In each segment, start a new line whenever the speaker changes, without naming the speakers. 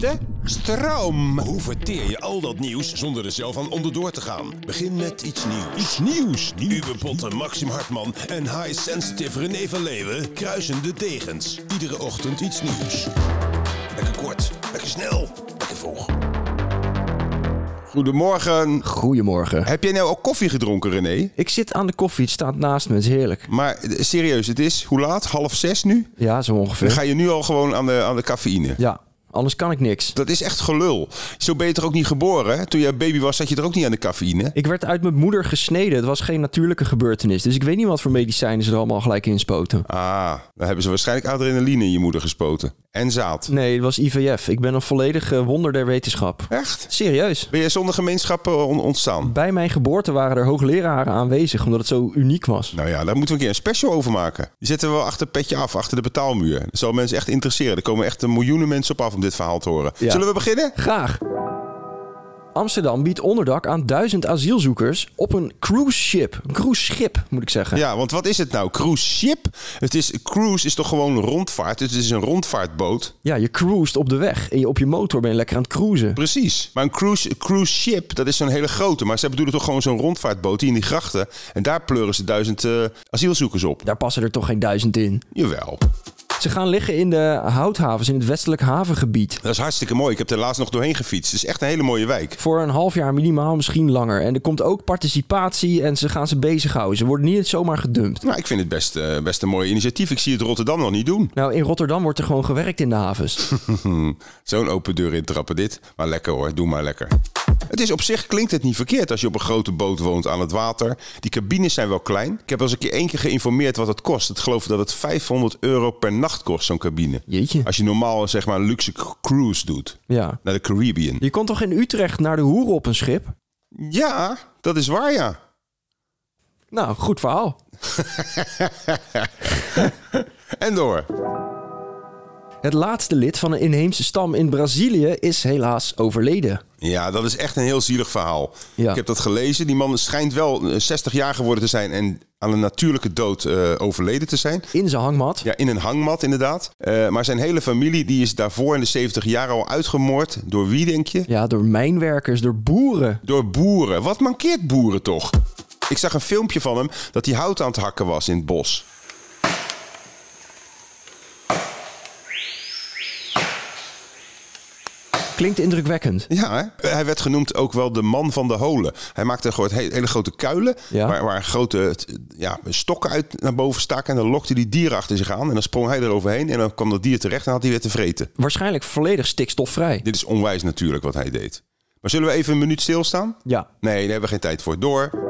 De stroom.
Hoe verteer je al dat nieuws zonder er zelf aan onderdoor te gaan? Begin met iets nieuws.
Iets nieuws. nieuws.
Uwe Potten, Maxim Hartman en high-sensitive René van Leeuwen kruisen de degens. Iedere ochtend iets nieuws. Lekker kort, lekker snel, lekker vroeg.
Goedemorgen.
Goedemorgen.
Heb jij nou al koffie gedronken, René?
Ik zit aan de koffie, het staat naast me, het is heerlijk.
Maar eh, serieus, het is hoe laat? Half zes nu?
Ja, zo
Dan
ongeveer.
ga je nu al gewoon aan de, aan de cafeïne.
Ja, anders kan ik niks.
Dat is echt gelul. Zo ben je toch ook niet geboren? hè? Toen jij baby was, zat je er ook niet aan de cafeïne.
Ik werd uit mijn moeder gesneden, het was geen natuurlijke gebeurtenis. Dus ik weet niet wat voor medicijnen ze er allemaal gelijk in spoten.
Ah, dan hebben ze waarschijnlijk adrenaline in je moeder gespoten. En zaad.
Nee, het was IVF. Ik ben een volledig eh, wonder der wetenschap.
Echt?
Serieus.
Ben jij zonder gemeenschappen eh, on- ontstaan?
Bij mijn geboorte waren er hoogleraren aanwezig, omdat het zo uniek was.
Nou ja, daar moeten we een keer een special over maken. Die zetten we wel achter het petje af, achter de betaalmuur. Dat zal mensen echt interesseren. Er komen echt miljoenen mensen op af om dit verhaal te horen.
Ja.
Zullen we beginnen?
Graag. Amsterdam biedt onderdak aan duizend asielzoekers op een cruise ship. Een cruise schip, moet ik zeggen.
Ja, want wat is het nou? Cruise ship? Het is, cruise is toch gewoon rondvaart? Dus het is een rondvaartboot.
Ja, je cruist op de weg en je op je motor ben je lekker aan het cruisen.
Precies. Maar een cruise, cruise ship, dat is zo'n hele grote. Maar ze bedoelen toch gewoon zo'n rondvaartboot die in die grachten. En daar pleuren ze duizend eh, asielzoekers op.
Daar passen er toch geen duizend in.
Jawel.
Ze gaan liggen in de houthavens in het westelijk havengebied.
Dat is hartstikke mooi. Ik heb er laatst nog doorheen gefietst. Het is echt een hele mooie wijk.
Voor een half jaar minimaal, misschien langer. En er komt ook participatie en ze gaan ze bezighouden. Ze worden niet zomaar gedumpt.
Nou, ik vind het best, eh, best een mooi initiatief. Ik zie het Rotterdam nog niet doen.
Nou, in Rotterdam wordt er gewoon gewerkt in de havens.
Zo'n open deur intrappen dit. Maar lekker hoor, doe maar lekker. Het is op zich klinkt het niet verkeerd als je op een grote boot woont aan het water. Die cabines zijn wel klein. Ik heb als een keer één keer geïnformeerd wat het kost. Ik geloof dat het 500 euro per nacht kost, zo'n cabine.
Jeetje.
Als je normaal zeg maar een luxe cruise doet
Ja.
naar de Caribbean.
Je kon toch in Utrecht naar de hoeren op een schip?
Ja, dat is waar ja.
Nou, goed verhaal.
En door.
Het laatste lid van een inheemse stam in Brazilië is helaas overleden.
Ja, dat is echt een heel zielig verhaal.
Ja.
Ik heb dat gelezen. Die man schijnt wel eh, 60 jaar geworden te zijn en aan een natuurlijke dood eh, overleden te zijn.
In zijn hangmat.
Ja, in een hangmat inderdaad. Eh, maar zijn hele familie die is daarvoor in de 70 jaar al uitgemoord. Door wie denk je?
Ja, door mijnwerkers, door boeren.
Door boeren. Wat mankeert boeren toch? Ik zag een filmpje van hem dat hij hout aan het hakken was in het bos.
Klinkt indrukwekkend.
Ja, hè? hij werd genoemd ook wel de man van de holen. Hij maakte gewoon he- hele grote kuilen
Ja.
waar, waar grote t- ja, stokken uit naar boven staken. En dan lokte die dieren achter zich aan en dan sprong hij eroverheen. En dan kwam dat dier terecht en had hij weer te vreten.
Waarschijnlijk volledig stikstofvrij.
Dit is onwijs natuurlijk wat hij deed. Maar zullen we even een minuut stilstaan?
Ja,
Nee, daar hebben we geen tijd voor. Door.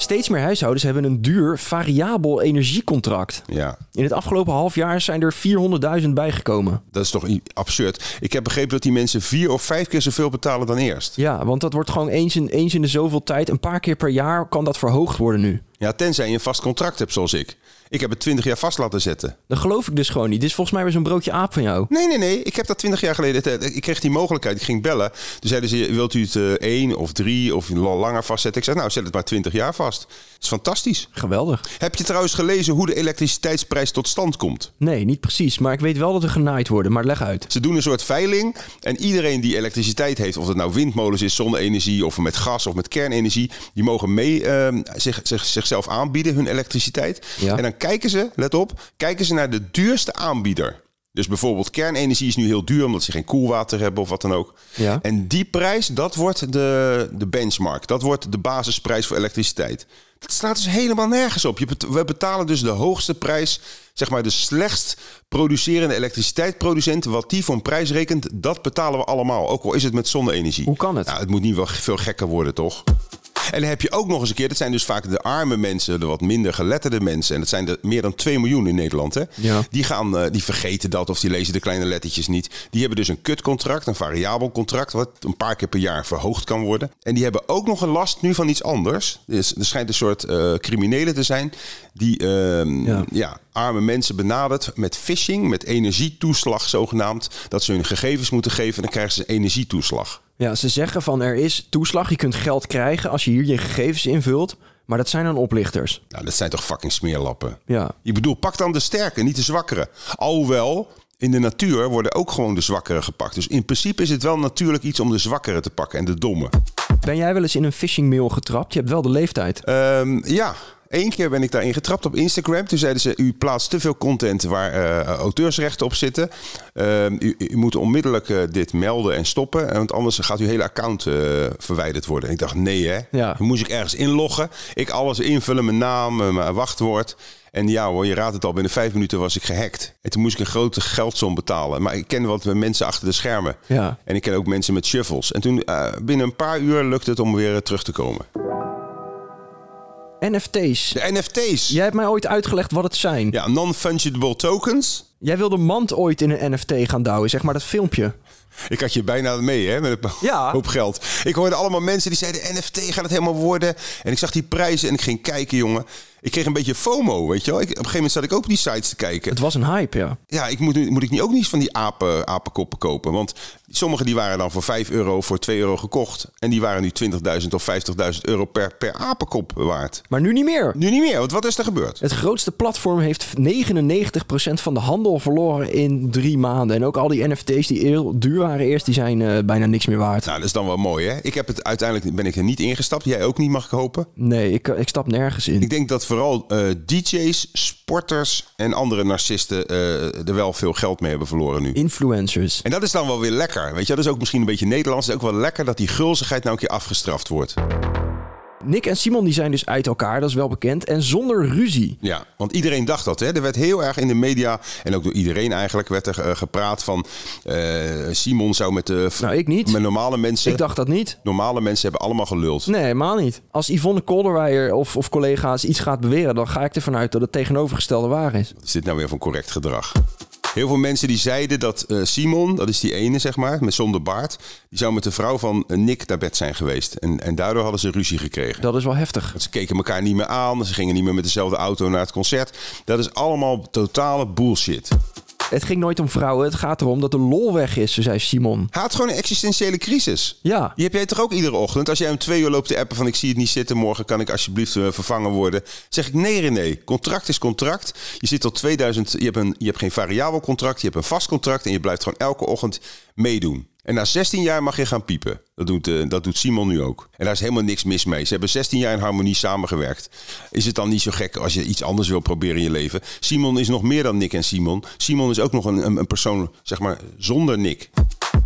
Steeds meer huishoudens hebben een duur, variabel energiecontract.
Ja,
In het afgelopen half jaar zijn er 400.000 bijgekomen.
Dat is toch i- absurd. Ik heb begrepen dat die mensen vier of vijf keer zoveel betalen dan eerst.
Ja, want dat wordt gewoon eens in, eens in de zoveel tijd, een paar keer per jaar kan dat verhoogd worden nu.
Ja, tenzij je een vast contract hebt zoals ik. Ik heb het twintig jaar vast laten zetten.
Dat geloof ik dus gewoon niet. Dit is volgens mij weer zo'n broodje aap van jou.
Nee, nee, nee. Ik heb dat twintig jaar geleden. eh, Ik kreeg die mogelijkheid. Ik ging bellen. Toen zeiden ze, wilt u het eh, één of drie of l- langer vastzetten? Ik zei, nou, zet het maar twintig jaar vast. Dat is fantastisch.
Geweldig.
Heb je trouwens gelezen hoe de elektriciteitsprijs tot stand komt?
Nee, niet precies. Maar ik weet wel dat er genaaid worden. Maar leg uit.
Ze doen een soort veiling. En iedereen die elektriciteit heeft, of dat nou windmolens is, zonne-energie, of met gas of met kernenergie, die mogen mee ehm, zich, zich, zichzelf aanbieden, hun elektriciteit.
Ja.
En dan kijken ze, let op, kijken ze naar de duurste aanbieder. Dus bijvoorbeeld kernenergie is nu heel duur omdat ze geen koelwater hebben of wat dan ook.
Ja.
En die prijs, dat wordt de, de benchmark. Dat wordt de basisprijs voor elektriciteit. Dat staat dus helemaal nergens op. Je bet- we betalen dus de hoogste prijs, zeg maar de slechtst producerende elektriciteitsproducent. Wat die voor een prijs rekent, dat betalen we allemaal. Ook al is het met zonne-energie.
Hoe kan het?
Nou, het moet niet wel veel gekker worden, toch? En dan heb je ook nog eens een keer, dat zijn dus vaak de arme mensen, de wat minder geletterde mensen. En dat zijn er meer dan 2 miljoen in Nederland. Hè?
Ja.
Die, gaan, eh, die vergeten dat of die lezen de kleine lettertjes niet. Die hebben dus een kutcontract, een variabel contract, wat een paar keer per jaar verhoogd kan worden. En die hebben ook nog een last nu van iets anders. Dus er schijnt een soort eh criminelen te zijn die ehm,
Ja.
ja. arme mensen benadert met phishing, met energietoeslag zogenaamd. Dat ze hun gegevens moeten geven en dan krijgen ze een energietoeslag.
Ja, ze zeggen van er is toeslag, je kunt geld krijgen als je hier je gegevens invult. Maar dat zijn dan oplichters.
Nou, dat zijn toch fucking smeerlappen.
Ja.
Je bedoel, pak dan de sterke, niet de zwakkere. Alhoewel, in de natuur worden ook gewoon de zwakkere gepakt. Dus in principe is het wel natuurlijk iets om de zwakkere te pakken en de domme.
Ben jij wel eens in een phishing mail getrapt? Je hebt wel de leeftijd.
Ehm, ja, één keer ben ik daarin getrapt op Instagram. Toen zeiden ze, u plaatst te veel content waar eh, auteursrechten op zitten. Ehm, u, u moet onmiddellijk eh, dit melden en stoppen. eh, Want anders gaat uw hele account eh, verwijderd worden. En ik dacht, nee hè.
Ja.
Dan moest ik ergens inloggen. Ik alles invullen, mijn naam, eh, mijn wachtwoord. En ja hoor, je raadt het al, binnen vijf minuten was ik gehackt. En toen moest ik een grote geldsom betalen. Maar ik ken wat mensen achter de schermen.
Ja.
En ik ken ook mensen met shuffles. En toen, eh, binnen een paar uur lukte het om weer eh, terug te komen.
NFT's.
De NFT's.
Jij hebt mij ooit uitgelegd wat het zijn.
Ja, non-fungible tokens.
Jij wilde Mand ooit in een NFT gaan douwen, zeg maar dat filmpje.
Ik had je bijna mee, hè, met een
Ja.
hoop geld. Ik hoorde allemaal mensen die zeiden, NFT gaat het helemaal worden. En ik zag die prijzen en ik ging kijken, jongen. Ik kreeg een beetje FOMO, weet je wel. Ik, op een gegeven moment zat ik ook op die sites te kijken.
Het was een hype, ja.
Ja, ik moet, nu- moet ik niet ook niet van die apen, apenkoppen kopen? Want sommige die waren dan voor 5 euro, voor 2 euro gekocht. En die waren nu 20.000 of 50.000 euro per, per apenkop waard.
Maar nu niet meer.
Nu niet meer, want wat is er gebeurd?
Het grootste platform heeft 99% van de handel verloren in drie maanden. En ook al die NFT's die heel duur waren eerst, die zijn eh, bijna niks meer waard.
Nou, dat is dan wel mooi, hè? Ik heb het uiteindelijk ben ik er niet ingestapt. Jij ook niet, mag ik hopen.
Nee, ik, eh, ik stap nergens in.
Ik denk dat vooral eh, DJ's, sporters en andere narcisten eh, er wel veel geld mee hebben verloren nu.
Influencers.
En dat is dan wel weer lekker. Weet je, dat is ook misschien een beetje Nederlands. Het is ook wel lekker dat die gulzigheid nou een keer afgestraft wordt.
Nick en Simon die zijn dus uit elkaar, dat is wel bekend. En zonder ruzie.
Ja, want iedereen dacht dat. Hè? Er werd heel erg in de media en ook door iedereen eigenlijk werd er eh, gepraat van eh, Simon zou met de
Nou, ik niet.
met normale mensen.
Ik dacht dat niet.
Normale mensen hebben allemaal geluld.
Nee, helemaal niet. Als Yvonne Kolderweijer of, of collega's iets gaat beweren, dan ga ik ervan uit dat het tegenovergestelde waar is.
Wat is dit nou weer voor correct gedrag? Heel veel mensen die zeiden dat eh, Simon, dat is die ene zeg maar, met zonder baard, die zou met de vrouw van eh, Nick naar bed zijn geweest. En, en daardoor hadden ze ruzie gekregen.
Dat is wel heftig.
Want ze keken elkaar niet meer aan, ze gingen niet meer met dezelfde auto naar het concert. Dat is allemaal totale bullshit.
Het ging nooit om vrouwen, het gaat erom dat de lol weg is, zo zei Simon.
Hij had gewoon een existentiële crisis.
Ja,
Die heb jij toch ook iedere ochtend? Als jij om twee uur loopt te appen van ik zie het niet zitten, morgen kan ik alsjeblieft eh, vervangen worden. Zeg ik nee René, contract is contract. Je zit tot 2000, je hebt, een, je hebt geen variabel contract, je hebt een vast contract en je blijft gewoon elke ochtend meedoen. En na 16 jaar mag je gaan piepen. Dat doet, eh, dat doet Simon nu ook. En daar is helemaal niks mis mee. Ze hebben 16 jaar in harmonie samengewerkt. Is het dan niet zo gek als je iets anders wil proberen in je leven? Simon is nog meer dan Nick en Simon. Simon is ook nog een, een, een persoon, zeg maar, zonder Nick.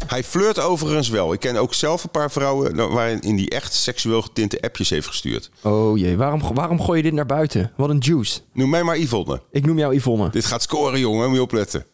Hij flirt overigens wel. Ik ken ook zelf een paar vrouwen nou, waarin hij echt seksueel getinte appjes heeft gestuurd.
Oh jee, waarom, waarom gooi je dit naar buiten? Wat een juice.
Noem mij maar Yvonne.
Ik noem jou Yvonne.
Dit gaat scoren, jongen. Moet je opletten.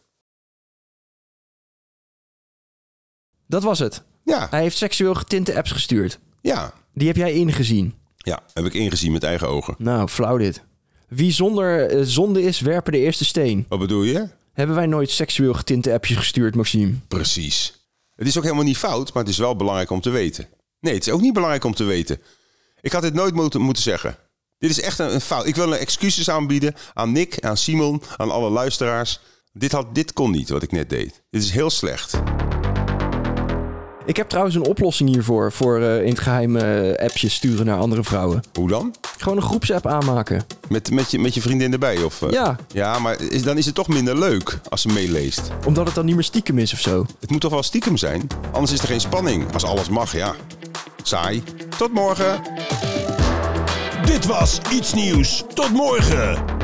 Dat was het.
Ja,
Hij heeft seksueel getinte apps gestuurd.
ja.
Die heb jij ingezien.
Ja, heb ik ingezien met eigen ogen.
Nou, flauw dit. Wie zonder eh, zonde is, werpen de eerste steen.
Wat bedoel je?
Hebben wij nooit seksueel getinte appjes gestuurd, Maxime?
Precies. Het is ook helemaal niet fout, maar het is wel belangrijk om te weten. Nee, het is ook niet belangrijk om te weten. Ik had dit nooit moeten, moeten zeggen. Dit is echt een, een fout. Ik wil een excuses aanbieden aan Nick, aan Simon, aan alle luisteraars. Dit, had, dit kon niet, wat ik net deed. Dit is heel slecht.
Ik heb trouwens een oplossing hiervoor. Voor eh, in het geheim eh, appjes sturen naar andere vrouwen.
Hoe dan?
Gewoon een groepsapp aanmaken.
Met, met, je, met je vriendin erbij? Of, eh?
Ja.
Ja, maar is, dan is het toch minder leuk als ze meeleest.
Omdat het dan niet meer stiekem is of zo.
Het moet toch wel stiekem zijn? Anders is er geen spanning. Als alles mag, ja. Saai. Tot morgen.
Dit was Iets Nieuws. Tot morgen.